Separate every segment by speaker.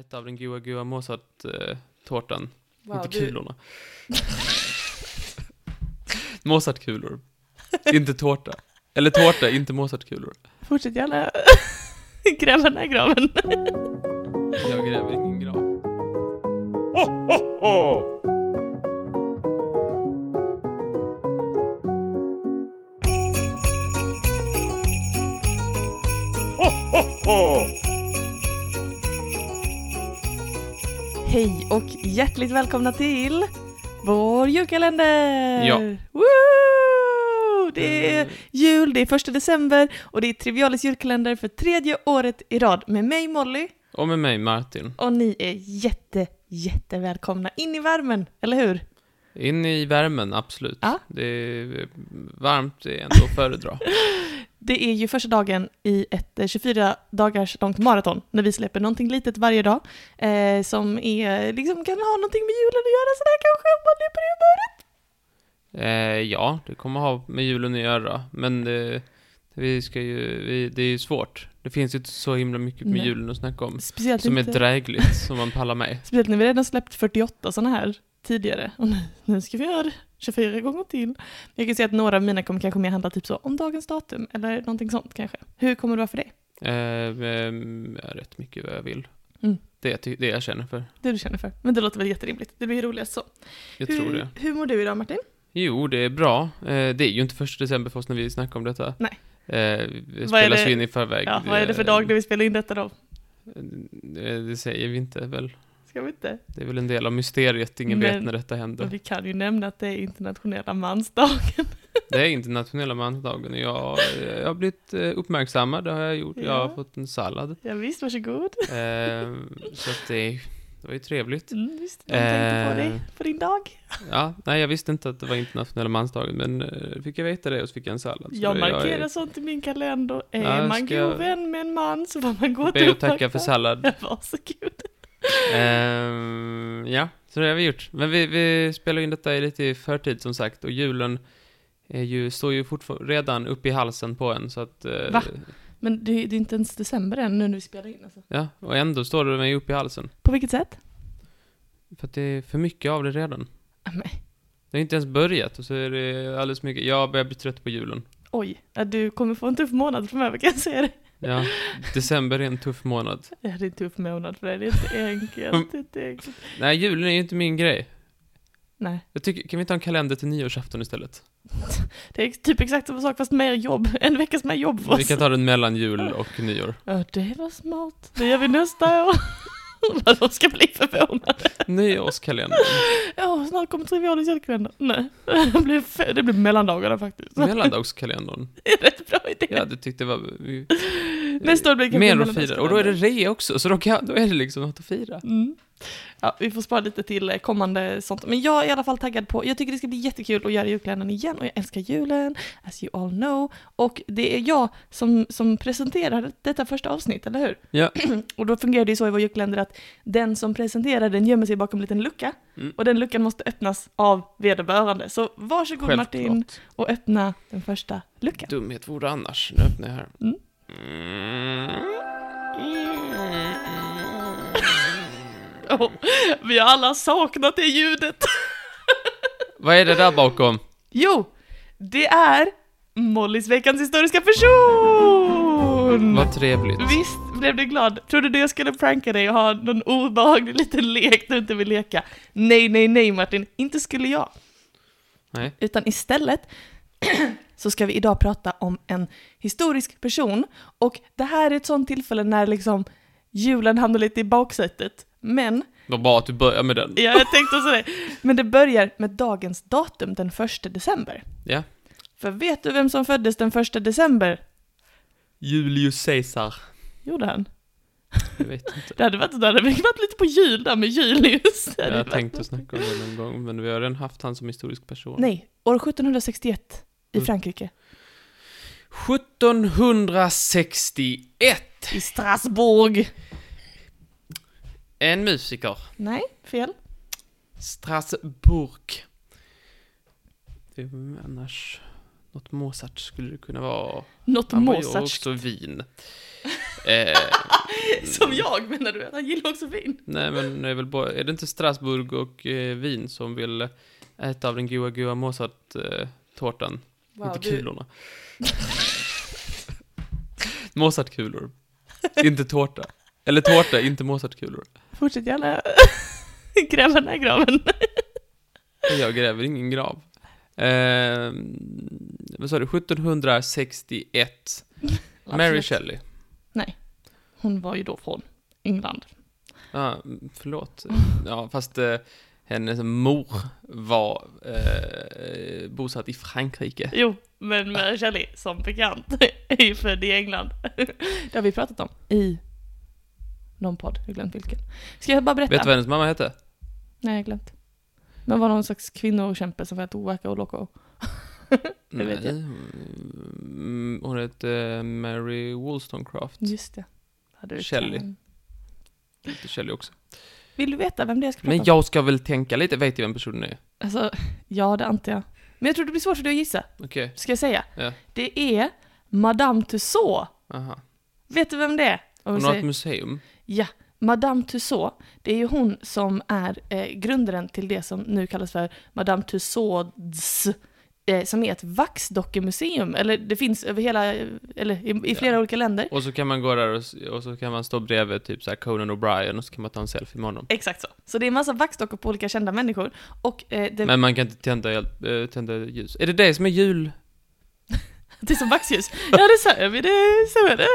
Speaker 1: äta av den goa, goa Mozart-tårtan.
Speaker 2: Wow,
Speaker 1: inte
Speaker 2: du-
Speaker 1: kulorna. Mozartkulor. Inte tårta. Eller tårta, inte Mozartkulor.
Speaker 2: Fortsätt gärna gräva den här graven.
Speaker 1: Jag gräver ingen grav.
Speaker 2: Hej och hjärtligt välkomna till vår julkalender!
Speaker 1: Ja. Eh.
Speaker 2: Woo! Det är jul, det är första december och det är Trivialis julkalender för tredje året i rad med mig Molly
Speaker 1: Och med mig, Martin.
Speaker 2: och ni är jätte, jätte välkomna in i värmen, eller hur?
Speaker 1: In i värmen, absolut.
Speaker 2: Ja.
Speaker 1: Det är varmt, det är ändå att föredra.
Speaker 2: Det är ju första dagen i ett eh, 24 dagars långt maraton när vi släpper någonting litet varje dag eh, som är, liksom, kan ha någonting med julen att göra sådär kanske om man är på det humöret.
Speaker 1: Eh, ja, det kommer ha med julen att göra, men eh, vi ska ju, vi, det är ju svårt. Det finns ju inte så himla mycket med
Speaker 2: Nej.
Speaker 1: julen att snacka om.
Speaker 2: Speciellt,
Speaker 1: Som är
Speaker 2: inte,
Speaker 1: drägligt, som man pallar med.
Speaker 2: speciellt när vi redan släppt 48 sådana här tidigare. Och nu, nu ska vi göra det 24 gånger till. Jag kan säga att några av mina kommer kanske mer handla typ så om dagens datum eller någonting sånt kanske. Hur kommer det vara för dig?
Speaker 1: Eh, ehm, jag har rätt mycket vad jag vill.
Speaker 2: Mm.
Speaker 1: Det, jag ty- det jag känner för.
Speaker 2: Det du känner för. Men det låter väl jätterimligt. Det blir roligast så.
Speaker 1: Jag
Speaker 2: hur,
Speaker 1: tror det.
Speaker 2: hur mår du idag Martin?
Speaker 1: Jo, det är bra. Eh, det är ju inte första december för oss när vi snackar om detta.
Speaker 2: Nej.
Speaker 1: Eh, det
Speaker 2: Vad är
Speaker 1: spelas
Speaker 2: det-
Speaker 1: ju in i förväg.
Speaker 2: Ja, vad är det för dag när vi spelar in detta då?
Speaker 1: Eh, Det säger vi inte väl.
Speaker 2: Ska vi inte?
Speaker 1: Det är väl en del av mysteriet, ingen vet
Speaker 2: Men-
Speaker 1: när detta händer.
Speaker 2: Men vi kan ju nämna att det är internationella mansdagen.
Speaker 1: Det är internationella mansdagen och jag, jag har blivit eh, uppmärksammad, det har jag gjort. Jag har
Speaker 2: Ja.
Speaker 1: fått en sallad.
Speaker 2: Ja, visst, varsågod.
Speaker 1: Eh, så att det, det var ju trevligt.
Speaker 2: Mm, visst, de tänkte på
Speaker 1: Eh.
Speaker 2: dig, på din dag.
Speaker 1: Ja, nej jag visste inte att det var internationella mansdagen, men eh, fick jag veta det och så fick jag en sallad. Så
Speaker 2: Jag
Speaker 1: det-
Speaker 2: markerar sånt i min kalender. Är
Speaker 1: Ja,
Speaker 2: man
Speaker 1: ska
Speaker 2: god
Speaker 1: jag-
Speaker 2: vän med en man så får man gå
Speaker 1: Jag ber
Speaker 2: till
Speaker 1: och tacka för sallad.
Speaker 2: Ja, Varsågod.
Speaker 1: Ehm, ja, så det har vi gjort. Men vi, vi spelar in detta i lite i förtid som sagt och julen är ju, står ju fortfarande redan uppe i halsen på en så att... eh,
Speaker 2: Va? Men det, är- det är inte ens december än nu när vi spelar in alltså.
Speaker 1: Ja, och ändå står det mig uppe i halsen.
Speaker 2: På vilket sätt?
Speaker 1: För att det är för mycket av det redan.
Speaker 2: Ah, Nej.
Speaker 1: Det har inte ens börjat och så är det alldeles mycket. Jag börjar bli trött på julen.
Speaker 2: Oj, ja, du kommer få en tuff månad framöver kan jag säga det.
Speaker 1: Ja, december är en tuff månad.
Speaker 2: Ja, det är en tuff månad för dig, det är inte enkelt. Det är inte enkelt.
Speaker 1: Nej, julen är ju inte min grej.
Speaker 2: Nej,
Speaker 1: Jag tycker, kan vi ta en kalender till nyårsafton istället?
Speaker 2: det är typ exakt samma sak fast mer jobb. En veckas mer jobb för
Speaker 1: Vi
Speaker 2: oss.
Speaker 1: kan ta den mellan jul och nyår.
Speaker 2: Ja, det var smart. Det gör vi nästa år. Vad de ska bli förvånade.
Speaker 1: Nyårskalendern.
Speaker 2: Ja, snart kommer Trivialis julkalender. Nej, det blir, fe- det blir mellandagarna faktiskt.
Speaker 1: Mellandagskalendern.
Speaker 2: Det är en rätt bra idé.
Speaker 1: Jag hade tyckt det var... vi-
Speaker 2: nästa år blir det kanske
Speaker 1: Mer att fira.
Speaker 2: mellandagskalender.
Speaker 1: Och då är det rea också, så då, kan, då är det liksom något att fira.
Speaker 2: Mm. Ja, vi får spara lite till eh, kommande sånt. Men jag är i alla fall taggad på, jag tycker det ska bli jättekul att göra julkalendern igen och jag älskar julen, as you all know. Och det är jag som, som presenterar detta första avsnitt, eller hur?
Speaker 1: Ja.
Speaker 2: och då fungerar det ju så i vår julkalender att den som presenterar den gömmer sig bakom en liten lucka
Speaker 1: Mm.
Speaker 2: och den luckan måste öppnas av vederbörande. Så varsågod Martin och öppna den första luckan.
Speaker 1: Dumhet vore annars. Nu öppnar jag här.
Speaker 2: Mm. Åh, vi har alla saknat det ljudet.
Speaker 1: Vad är det där bakom?
Speaker 2: Jo, det är Mollys veckans historiska person!
Speaker 1: Vad trevligt.
Speaker 2: Visst blev du glad? Trodde du jag skulle pranka dig och ha någon obehaglig liten lek du inte vill leka? Nej, nej, nej Martin, inte skulle jag.
Speaker 1: Nej.
Speaker 2: Utan istället så ska vi idag prata om en historisk person. Och det här är ett sånt tillfälle när liksom julen hamnar lite i baksätet. Men
Speaker 1: Vad bra att du börjar med den.
Speaker 2: Ja, jag tänkte också det. Men det börjar med dagens datum, den 1 december.
Speaker 1: Ja.
Speaker 2: För vet du vem som föddes den 1 december?
Speaker 1: Julius Caesar.
Speaker 2: Gjorde han?
Speaker 1: Jag vet inte.
Speaker 2: Det hade varit, det hade varit lite på jul där med Julius. Det hade
Speaker 1: Jag
Speaker 2: varit-
Speaker 1: tänkte snacka om det någon gång, men vi har redan haft han som historisk person.
Speaker 2: Nej, år 1761 i
Speaker 1: Mm.
Speaker 2: Frankrike.
Speaker 1: 1761.
Speaker 2: I Strasbourg.
Speaker 1: En musiker.
Speaker 2: Nej, fel.
Speaker 1: Strasbourg. Det är ju annars... Något Mozart skulle det kunna vara.
Speaker 2: Något
Speaker 1: Han var ju
Speaker 2: Mozart.
Speaker 1: också vin. Eh,
Speaker 2: Som jag menar du, han gillar också vin.
Speaker 1: nej, men det är väl bara, är det inte Strasbourg och eh, Wien som vill äta av den goa, goa eh, Mozart-tårtan? inte
Speaker 2: du,
Speaker 1: kulorna. Mozartkulor. Inte tårta. Eller tårta, inte Mozartkulor.
Speaker 2: fortsätt gärna gräva den här graven.
Speaker 1: Jag gräver ingen grav. Eh, vad sa du? 1761. Mary Shelley.
Speaker 2: Hon var ju då från England.
Speaker 1: Ja, förlåt. Ja, fast eh, hennes mor var eh, bosatt i Frankrike.
Speaker 2: Jo, men Mary Shelley, som bekant, är ju född i England. Det har vi pratat om i någon podd, jag har glömt vilken. Ska jag bara berätta?
Speaker 1: Vet du vad hennes mamma hette?
Speaker 2: Nej, jag har glömt. Men var någon slags kvinnokämpe som hette Waka och Loco. Det vet jag.
Speaker 1: Nej, hon- Mm, Hon hette Mary Wollstonecraft.
Speaker 2: Just det. Hade du
Speaker 1: Shelley.
Speaker 2: tänkt.
Speaker 1: Hette Shelley också.
Speaker 2: Vill du veta vem det är jag ska prata
Speaker 1: Men
Speaker 2: om?
Speaker 1: jag ska väl tänka lite, vet du vem personen är?
Speaker 2: Alltså, ja, det antar jag. Men jag tror det blir svårt för dig att gissa.
Speaker 1: Okej,
Speaker 2: Ska jag säga?
Speaker 1: Ja.
Speaker 2: Det är Madame Tussauds.
Speaker 1: aha.
Speaker 2: Vet du vem det är? Om vi
Speaker 1: Hon har
Speaker 2: säger-
Speaker 1: ett museum.
Speaker 2: Ja, Madame Tussauds, det är ju hon som är eh, grundaren till det som nu kallas för Madame Tussauds, eh, som är ett vaxdockemuseum, eller det finns över hela, eh, eller i, i flera
Speaker 1: Ja.
Speaker 2: olika länder.
Speaker 1: Och så kan man gå där och, s- och så kan man stå bredvid typ så här Conan O'Brien och så kan man ta en selfie med honom.
Speaker 2: Exakt så. Så det är en massa vaxdockor på olika kända människor. Och eh, det,
Speaker 1: Men man kan inte tända, el- eh, tända ljus. Är det det som är jul?
Speaker 2: det är som vaxljus. ja, det sa vi, det så är det.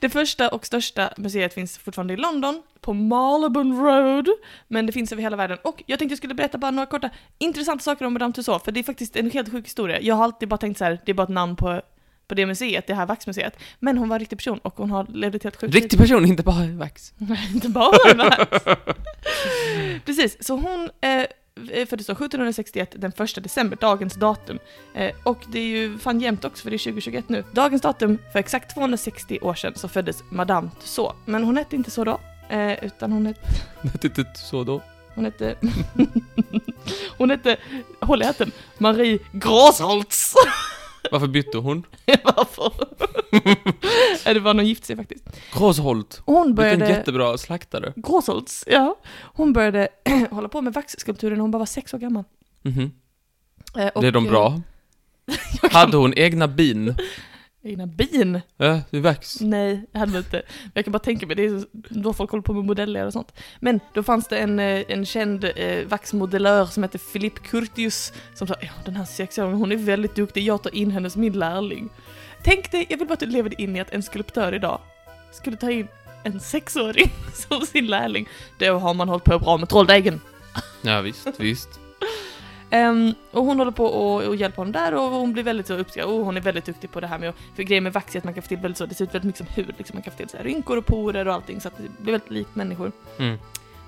Speaker 2: Det första och största museet finns fortfarande i London, på Marylebone Road, men det finns över hela världen. Och jag tänkte jag skulle berätta bara några korta intressanta saker om Madame Tussauds, för det är faktiskt en helt sjuk historia. Jag har alltid bara tänkt så här, det är bara ett namn på, på det museet, det här vaxmuseet. Men hon var en riktig person och hon har levt ett helt sjukt liv.
Speaker 1: Riktig person, inte bara vax.
Speaker 2: Nej, inte bara vax. Precis, så hon eh, föddes då 1761 den 1 december, dagens datum. Eh, och det är ju fan jämnt också för det är 2021 nu. Dagens datum, för exakt 260 år sedan så föddes Madame Tussauds. Men hon hette inte så då, eh, utan hon hette...
Speaker 1: Det är inte så då.
Speaker 2: Hon hette... hon hette... Håll i hatten! Marie Grasholtz!
Speaker 1: Varför bytte hon?
Speaker 2: Varför? Eh, det var någon gift sig faktiskt.
Speaker 1: Rosholt.
Speaker 2: Och hon
Speaker 1: Vilken
Speaker 2: började...
Speaker 1: jättebra slaktare.
Speaker 2: Gråsholtz, ja. Hon började hålla på med vaxskulpturer när hon bara var sex år gammal.
Speaker 1: Mhm.
Speaker 2: Eh, och,
Speaker 1: Det är de
Speaker 2: eh,
Speaker 1: bra.
Speaker 2: jag kan-
Speaker 1: Hade hon egna bin?
Speaker 2: Egna bin?
Speaker 1: Ja, det är vax.
Speaker 2: Nej, det hade man inte. Men Jag kan bara tänka mig, det är så- då folk håller på med modeller och sånt. Men då fanns det en, eh, en känd eh, vaxmodellör som hette Philip Curtius som sa ja, den här sexåringen hon är väldigt duktig, jag tar in henne som min lärling. Tänk dig, jag vill bara att du lever dig in i att en skulptör idag skulle ta in en sexåring som sin lärling. Då har man hållit på bra med trolldegen.
Speaker 1: Ja, visst, visst.
Speaker 2: Ehm, och hon håller på och, och hjälper honom där och hon blir väldigt så uppskattad. Och hon är väldigt duktig på det här med att, för grejen med vax är att man kan få till väldigt så, det ser ut väldigt mycket som hud liksom. Man kan få till så här rynkor och porer och allting så att det blir väldigt likt människor.
Speaker 1: Mm.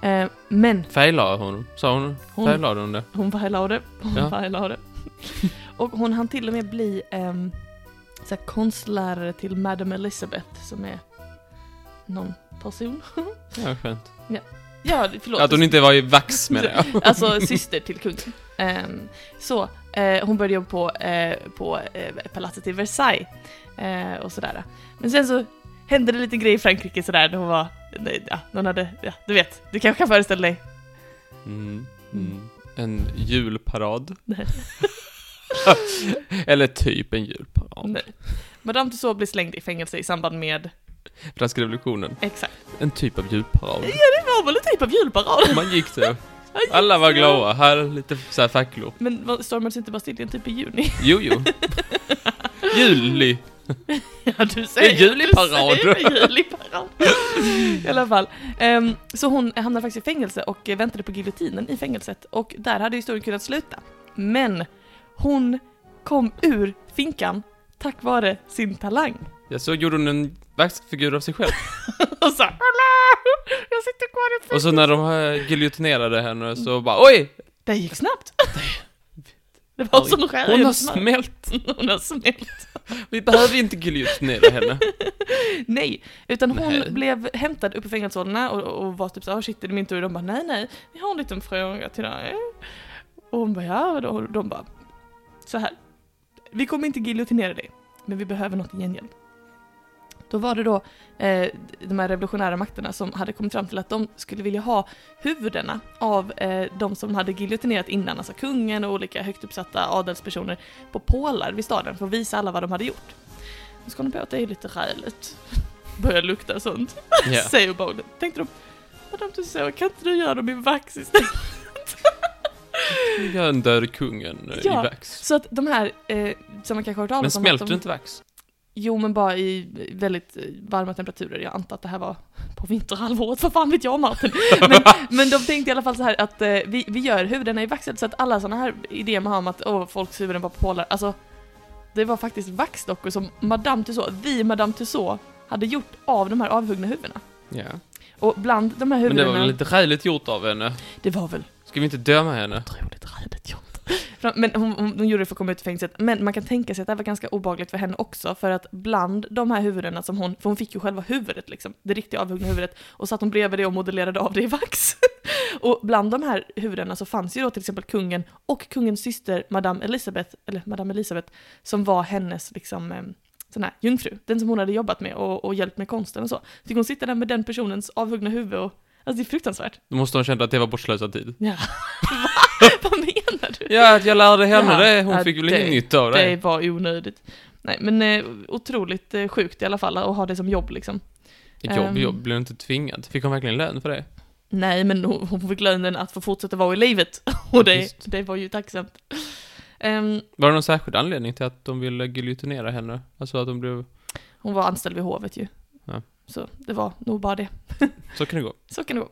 Speaker 2: Ehm, men
Speaker 1: Färglade hon? Sa hon?
Speaker 2: Hon-
Speaker 1: Färglade hon det?
Speaker 2: hon färglade, hon
Speaker 1: Ja.
Speaker 2: färglade. och hon hann till och med bli um, så här konstlärare till Madame Elizabeth som är någon person.
Speaker 1: Ja, skönt.
Speaker 2: Ja, förlåt.
Speaker 1: Att hon inte var i vax menar jag.
Speaker 2: Alltså syster till kungen. Ehm, så, eh, hon började jobba på, eh, på eh, palatset i Versailles eh, och sådär. Men sen så hände det lite grejer i Frankrike sådär när hon var, nej, ja, någon hade, ja, du vet, du kanske kan föreställa dig.
Speaker 1: Mm,
Speaker 2: Mm.
Speaker 1: mm. En julparad.
Speaker 2: Nej.
Speaker 1: Eller typ en julparad.
Speaker 2: Nej. Madame Tussauds blev slängd i fängelse i samband med,
Speaker 1: Franska revolutionen.
Speaker 2: exakt,
Speaker 1: En typ av julparad.
Speaker 2: ja det var väl en typ av julparad.
Speaker 1: Man gick så. Alla var glada. Här lite så här facklor.
Speaker 2: Men vad- stormades inte Bastiljen typ i juni?
Speaker 1: Jo, jo. Juli.
Speaker 2: Ja, du säger
Speaker 1: En juliparad.
Speaker 2: du säger en juliparad. I alla fall. Ehm, så hon hamnade faktiskt i fängelse och eh, väntade på giljotinen i fängelset. Och där hade historien kunnat sluta. Men hon kom ur finkan tack vare sin talang.
Speaker 1: Ja, så gjorde hon en vaxfigur av sig själv.
Speaker 2: Och sa Hallå! Jag sitter kvar i fängelset.
Speaker 1: Och så när de eh, giljotinerade henne så bara oj!
Speaker 2: Det gick snabbt. Det var
Speaker 1: Oj.
Speaker 2: som att skära
Speaker 1: Hon
Speaker 2: genom
Speaker 1: har
Speaker 2: smör.
Speaker 1: smält.
Speaker 2: Hon har smält.
Speaker 1: Vi behöver inte giljotinera henne.
Speaker 2: Nej, utan hon
Speaker 1: Nej.
Speaker 2: blev hämtad uppe i fängelsehålorna och, och var typ såhär, oh shit är det min tur? De bara, nej nej, vi har en liten fråga till dig. Och hon bara, ja vadå? Och de bara, så här. Vi kommer inte giljotinera dig, men vi behöver något i gengäld. Då var det då eh, de här revolutionära makterna som hade kommit fram till att de skulle vilja ha huvudena av eh, de som hade giljotinerat innan, alltså kungen och olika högt uppsatta adelspersoner, på pålar vid staden för att visa alla vad de hade gjort. Nu ska ni på att det är lite räligt. Börjar lukta sånt,
Speaker 1: Ja.
Speaker 2: säger Bowden. Tänkte de, vad dumt du så, kan inte du göra dem i vax istället?
Speaker 1: Jag dör kungen eh,
Speaker 2: Ja.
Speaker 1: i vax.
Speaker 2: Så att de här, eh, som man kanske har hört
Speaker 1: Men
Speaker 2: talas om, att
Speaker 1: smälter
Speaker 2: de,
Speaker 1: inte vax?
Speaker 2: Jo, men bara i väldigt eh, varma temperaturer. Jag antar att det här var på vinterhalvåret, vad fan vet jag Martin? Men, men de tänkte i alla fall så här att eh, vi, vi gör huvudena i vaxet så att alla sådana här idéer man har om att åh, folks huvuden var på pålar, alltså det var faktiskt vaxdockor som Madame Tussauds, vi Madame Tussauds, hade gjort av de här avhuggna huvudena.
Speaker 1: Ja.
Speaker 2: Och bland de här
Speaker 1: Men det
Speaker 2: huvudena,
Speaker 1: var väl lite räligt gjort av henne?
Speaker 2: det var väl
Speaker 1: Ska vi inte döma henne?
Speaker 2: otroligt rädigt gjort. Fram- Men hon, hon, hon gjorde det för att komma ut ur fängelset. Men man kan tänka sig att det här var ganska obagligt för henne också, för att bland de här huvudena som hon, för hon fick ju själva huvudet liksom, det riktiga avhuggna huvudet, och satt hon bredvid det och modellerade av det i vax. Och bland de här huvudena så fanns ju då till exempel kungen och kungens syster Madame Elisabeth, eller Madame Elisabeth, som var hennes liksom eh, sån här jungfru, den som hon hade jobbat med och, och hjälpt med konsten och så. Fick hon sitta där med den personens avhuggna huvud och, alltså det är fruktansvärt.
Speaker 1: Då måste hon känna att det var bortslösad tid.
Speaker 2: Ja. Vad menar du?
Speaker 1: Ja, att jag lärde henne
Speaker 2: Ja,
Speaker 1: det. Hon
Speaker 2: ja,
Speaker 1: fick väl
Speaker 2: det-
Speaker 1: inget nytt av det.
Speaker 2: Det var onödigt. Nej, men eh, otroligt eh, sjukt i alla fall att ha det som jobb liksom.
Speaker 1: Ett jobb,
Speaker 2: Ehm.
Speaker 1: jobb. Blev hon inte tvingad? Fick hon verkligen lön för det?
Speaker 2: Nej, men hon hon fick lönen att få fortsätta vara i livet. Och det,
Speaker 1: Just.
Speaker 2: det var ju tacksamt. Ehm,
Speaker 1: Var det någon särskild anledning till att de ville giljotinera henne? Alltså att de blev...
Speaker 2: hon var anställd vid hovet ju.
Speaker 1: Ja.
Speaker 2: Så det var nog bara det.
Speaker 1: Så kan det gå.
Speaker 2: Så kan det gå.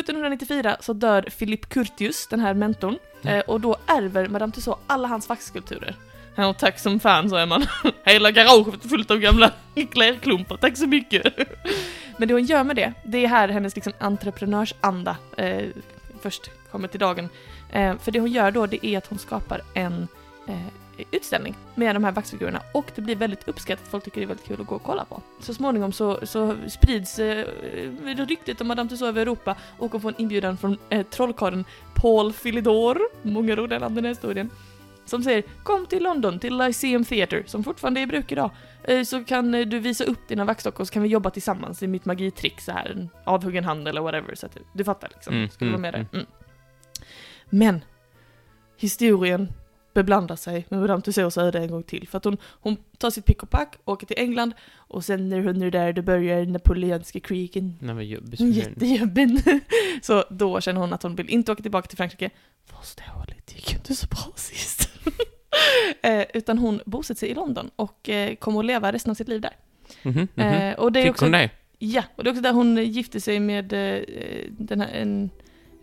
Speaker 2: 1794 så dör Philip Curtius, den här mentorn,
Speaker 1: Ja.
Speaker 2: eh, och då ärver Madame Tussauds alla hans vaxskulpturer. Ja, och tack som fan, säger man. Hela garaget är fullt av gamla klärklumpar, tack så mycket. Men det hon gör med det, det är här hennes liksom entreprenörsanda eh, först kommer till dagen. Eh, för det hon gör då, det är att hon skapar en eh, utställning med de här vaxfigurerna och det blir väldigt uppskattat, folk tycker det är väldigt kul att gå och kolla på. Så småningom så, så sprids eh, ryktet om Madame Tussauds över Europa och hon får en inbjudan från eh, trollkarlen Paul Philidor, många roliga namn i den här historien, som säger kom till London, till Lyceum Theatre, som fortfarande är i bruk idag, eh, så kan eh, du visa upp dina vaxdockor så kan vi jobba tillsammans i mitt magitrick så här, en avhuggen hand eller whatever, så att du, du fattar liksom,
Speaker 1: Mm,
Speaker 2: skulle
Speaker 1: mm,
Speaker 2: vara med
Speaker 1: mm.
Speaker 2: där. Mm. Men, historien beblandar sig med Madame Tussauds öde en gång till, för att hon, hon tar sitt pick och pack, åker till England, och sen när hon är där, då börjar Napoleonska krigen
Speaker 1: Nej men jobbigt.
Speaker 2: Jättejobben. Så då känner hon att hon vill inte åka tillbaka till Frankrike. Förståeligt, det gick ju inte så bra sist. eh, utan hon bosätter sig i London och eh, kommer att leva resten av sitt liv där.
Speaker 1: Mhm, mhm.
Speaker 2: Eh, och det är
Speaker 1: Fick
Speaker 2: också,
Speaker 1: hon det?
Speaker 2: Ja, och det är också där hon gifte sig med eh, den här, en,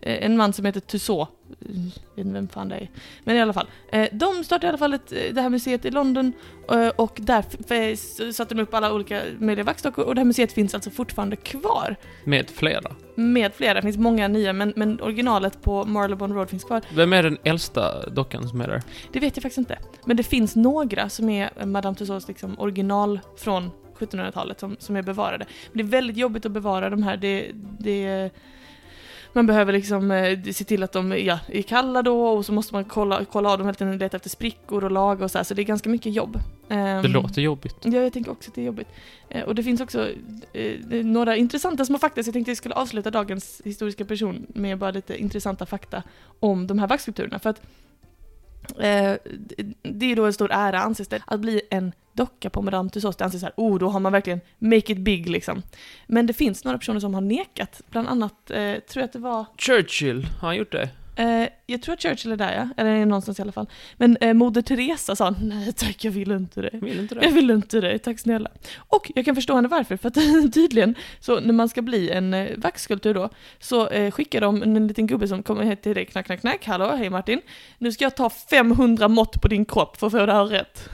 Speaker 2: eh, en man som heter Tussaud. Eh, Jag vet inte vem fan det är. Men i alla fall. Eh, de startade i alla fall ett, eh, det här museet i London eh, och där f- f- s- satte de upp alla olika möjliga vaxdockor och det här museet finns alltså fortfarande kvar
Speaker 1: Med flera.
Speaker 2: med flera. Det finns många nya, men, men originalet på Marylebone Road finns kvar.
Speaker 1: Vem är den äldsta dockan som är där?
Speaker 2: Det vet jag faktiskt inte. Men det finns några som är Madame Tussauds liksom original från 1700-talet som, som är bevarade. Men det är väldigt jobbigt att bevara de här. Det, det, man behöver liksom eh, se till att de ja, är kalla då och så måste man kolla, kolla av dem hela tiden, leta efter sprickor och laga och så här. Så det är ganska mycket jobb. Ehm,
Speaker 1: Det låter jobbigt.
Speaker 2: Ja, jag tänker också att det är jobbigt. Eh, och det finns också eh, några intressanta små fakta, så jag tänkte jag skulle avsluta dagens historiska person med bara lite intressanta fakta om de här vaxskulpturerna. För att eh, det- det är då en stor ära, anses det, att bli en docka på Madame Tussauds. Det anses så här, oh, då har man verkligen make it big liksom. Men det finns några personer som har nekat, bland annat eh, tror jag att det var
Speaker 1: Churchill, har han gjort det?
Speaker 2: Eh, jag tror att Churchill är där ja, eller någonstans i alla fall. Men eh, Moder Teresa sa nej tack, jag vill inte det.
Speaker 1: Vill inte
Speaker 2: Jag
Speaker 1: det?
Speaker 2: vill inte det, tack snälla. Och jag kan förstå henne varför, för att tydligen, så när man ska bli en eh, vaxskulptur då, så eh, skickar de en liten gubbe som kommer hit till dig, knack, knack, knack, hallå, hej Martin. Nu ska jag ta 500 mått på din kropp för att få det här rätt.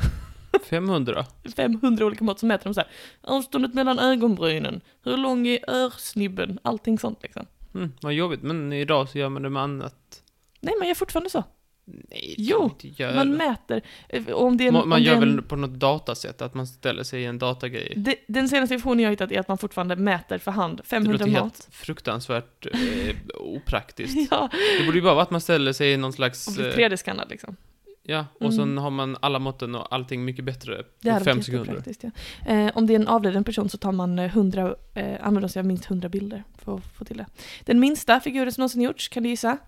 Speaker 1: 500?
Speaker 2: 500 olika mått som mäter de så här, avståndet mellan ögonbrynen, hur lång är örsnibben, allting sånt liksom.
Speaker 1: Mm, vad jobbigt. Men idag så gör man det med annat.
Speaker 2: Nej, man gör fortfarande så.
Speaker 1: Nej,
Speaker 2: det Jo, kan man Man mäter, eh, och om det är en,
Speaker 1: Man,
Speaker 2: om det är
Speaker 1: gör
Speaker 2: en,
Speaker 1: väl på något datasätt, att man ställer sig i en datagrej.
Speaker 2: de- Den senaste versionen jag har hittat är att man fortfarande mäter för hand,
Speaker 1: Det
Speaker 2: 500
Speaker 1: låter
Speaker 2: mått.
Speaker 1: helt fruktansvärt eh, opraktiskt.
Speaker 2: Ja,
Speaker 1: Det borde ju bara vara att man ställer sig i någon slags...
Speaker 2: och blir
Speaker 1: eh,
Speaker 2: 3D-skannad liksom.
Speaker 1: Ja, och
Speaker 2: Mm.
Speaker 1: sen har man alla måtten och allting mycket bättre
Speaker 2: Det
Speaker 1: på
Speaker 2: hade
Speaker 1: fem
Speaker 2: varit
Speaker 1: sekunder.
Speaker 2: jättepraktiskt, Ja. Eh, om det är en avliden person så tar man eh, 100, eh, använder man sig av minst 100 bilder för att få till det. Den minsta figuren som någonsin gjorts, kan du gissa?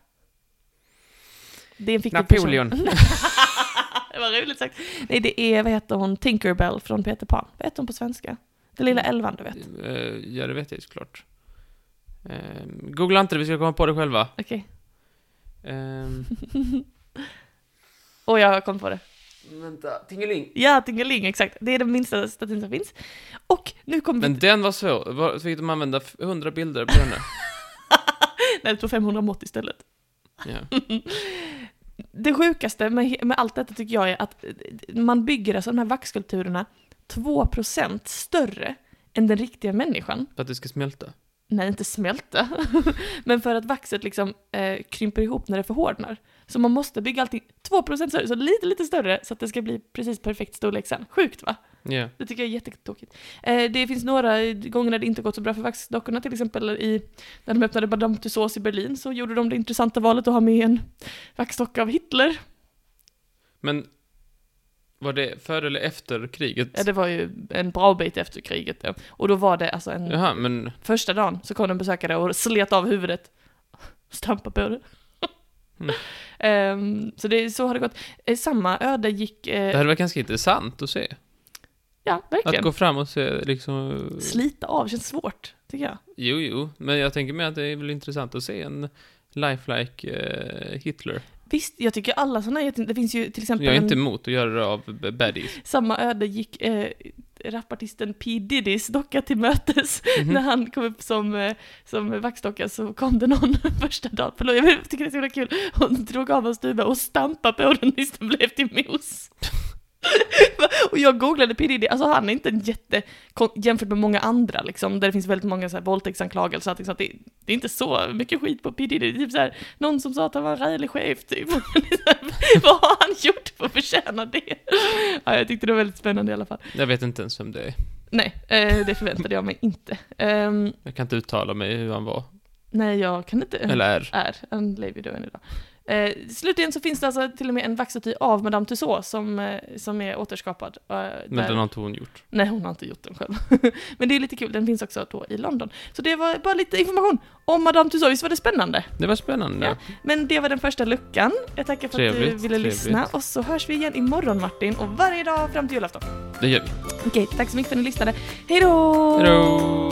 Speaker 2: Det är en fiktiv
Speaker 1: Napoleon.
Speaker 2: person. det var roligt sagt. Nej, det är, vad heter hon, Tinkerbell från Peter Pan. Vad heter hon på svenska? Den lilla elvan, du vet.
Speaker 1: Eh, Ja, det vet jag ju såklart. Eh, Googla inte det, vi ska komma på det själva.
Speaker 2: Okej.
Speaker 1: Ehm,
Speaker 2: Och jag kom på det.
Speaker 1: Vänta, Tingeling.
Speaker 2: Ja, Tingeling, exakt. Det är den minsta statyn som finns. Och nu kommer
Speaker 1: Men
Speaker 2: vi...
Speaker 1: den var svår. Var- Fick de använda f- 100 bilder på henne?
Speaker 2: Nej, jag tror 500 mått istället.
Speaker 1: Ja.
Speaker 2: Det sjukaste med, he- med allt detta tycker jag är att eh, man bygger alltså de här vaxskulpturerna 2% större än den riktiga människan.
Speaker 1: För att det ska smälta.
Speaker 2: Nej, inte smälta. Men för att vaxet liksom eh, krymper ihop när det förhårdnar. Så man måste bygga allting 2% större, så lite, lite större så att det ska bli precis perfekt storlek sen. Sjukt va?
Speaker 1: Ja.
Speaker 2: Det tycker jag är jättetråkigt. Eh, det finns några eh, gånger när det inte gått så bra för vaxdockorna, till exempel i, när de öppnade Madame Tussauds i Berlin så gjorde de det intressanta valet att ha med en vaxdocka av Hitler.
Speaker 1: Men var det före eller efter kriget?
Speaker 2: Ja, det var ju en bra bit efter kriget. Ja. Och då var det alltså en...
Speaker 1: Jaha, men
Speaker 2: Första dagen så kom de besökare och slet av huvudet. Stampa på det.
Speaker 1: Mm.
Speaker 2: Ehm, så det, så har det gått. Eh, Samma öde gick...
Speaker 1: det
Speaker 2: Eh,
Speaker 1: hade varit ganska intressant att se.
Speaker 2: ja,
Speaker 1: Att
Speaker 2: verkligen.
Speaker 1: gå fram och se liksom...
Speaker 2: Slita av känns svårt, tycker jag.
Speaker 1: Jo, jo, men jag tänker mig att det är väl intressant att se en lifelike eh, Hitler.
Speaker 2: Visst, jag tycker alla sådana är jätte- Det finns ju till exempel...
Speaker 1: Jag är
Speaker 2: en-
Speaker 1: inte emot att göra det av b- baddies.
Speaker 2: Samma öde gick eh, rapartisten P. Diddys docka till mötes.
Speaker 1: Mhm.
Speaker 2: När han kom upp som, eh, som vaxdocka så kom det någon första dagen, förlåt jag tycker det är så himla kul, hon drog av hans tuba och stampade på den tills den blev till mos. och jag googlade P. Diddy, alltså han är inte en jätte, kon- jämfört med många andra liksom, där det finns väldigt många så här våldtäktsanklagelser, och allting, så att det, det är inte så mycket skit på P. Diddy, det är typ så här, någon som sa att han var en rälig chef typ. Vad har han gjort för att förtjäna det? Ja, jag tyckte det var väldigt spännande i alla fall.
Speaker 1: Jag vet inte ens vem det är.
Speaker 2: Nej, eh, det förväntade jag mig inte. Ehm,
Speaker 1: Jag kan inte uttala mig hur han var.
Speaker 2: nej, jag kan inte...
Speaker 1: Eller är.
Speaker 2: Är. Han lever ju då än idag. Eh, slutligen så finns det alltså till och med en vaxstaty av Madame Tussauds som, eh, som är återskapad. eh,
Speaker 1: Men
Speaker 2: där-
Speaker 1: den har inte hon gjort.
Speaker 2: Nej, hon har inte gjort den själv. Men det är lite kul, den finns också då i London. Så det var bara lite information om Madame Tussauds, visst var det spännande?
Speaker 1: Det var spännande.
Speaker 2: Ja. Men det var den första luckan. Jag tackar för att du
Speaker 1: Trevligt,
Speaker 2: ville
Speaker 1: trevligt.
Speaker 2: lyssna och så hörs vi igen imorgon Martin och varje dag fram till julafton.
Speaker 1: Det gör vi.
Speaker 2: Okej, tack så mycket för att ni lyssnade. Hej då!
Speaker 1: Hej då!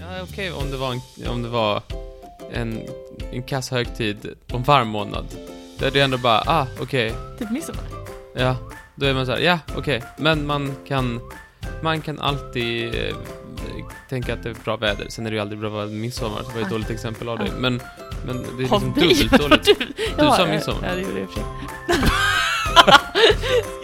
Speaker 1: Ja, okej om det var en, om det var en, en kass högtid om varm månad. Då är det ändå bara, ah, okej.
Speaker 2: Typ midsommar.
Speaker 1: Ja, då är man så här, ja, okej. Men man kan, man kan alltid eh, tänka att det är bra väder. Sen är det ju aldrig bra väder midsommar, så det var ett
Speaker 2: Ah.
Speaker 1: dåligt exempel av
Speaker 2: Ah.
Speaker 1: dig. Men, men det är
Speaker 2: Av
Speaker 1: liksom
Speaker 2: dig?
Speaker 1: dubbelt dåligt.
Speaker 2: Du,
Speaker 1: sa midsommar.
Speaker 2: Ja, det gjorde jag i och för sig.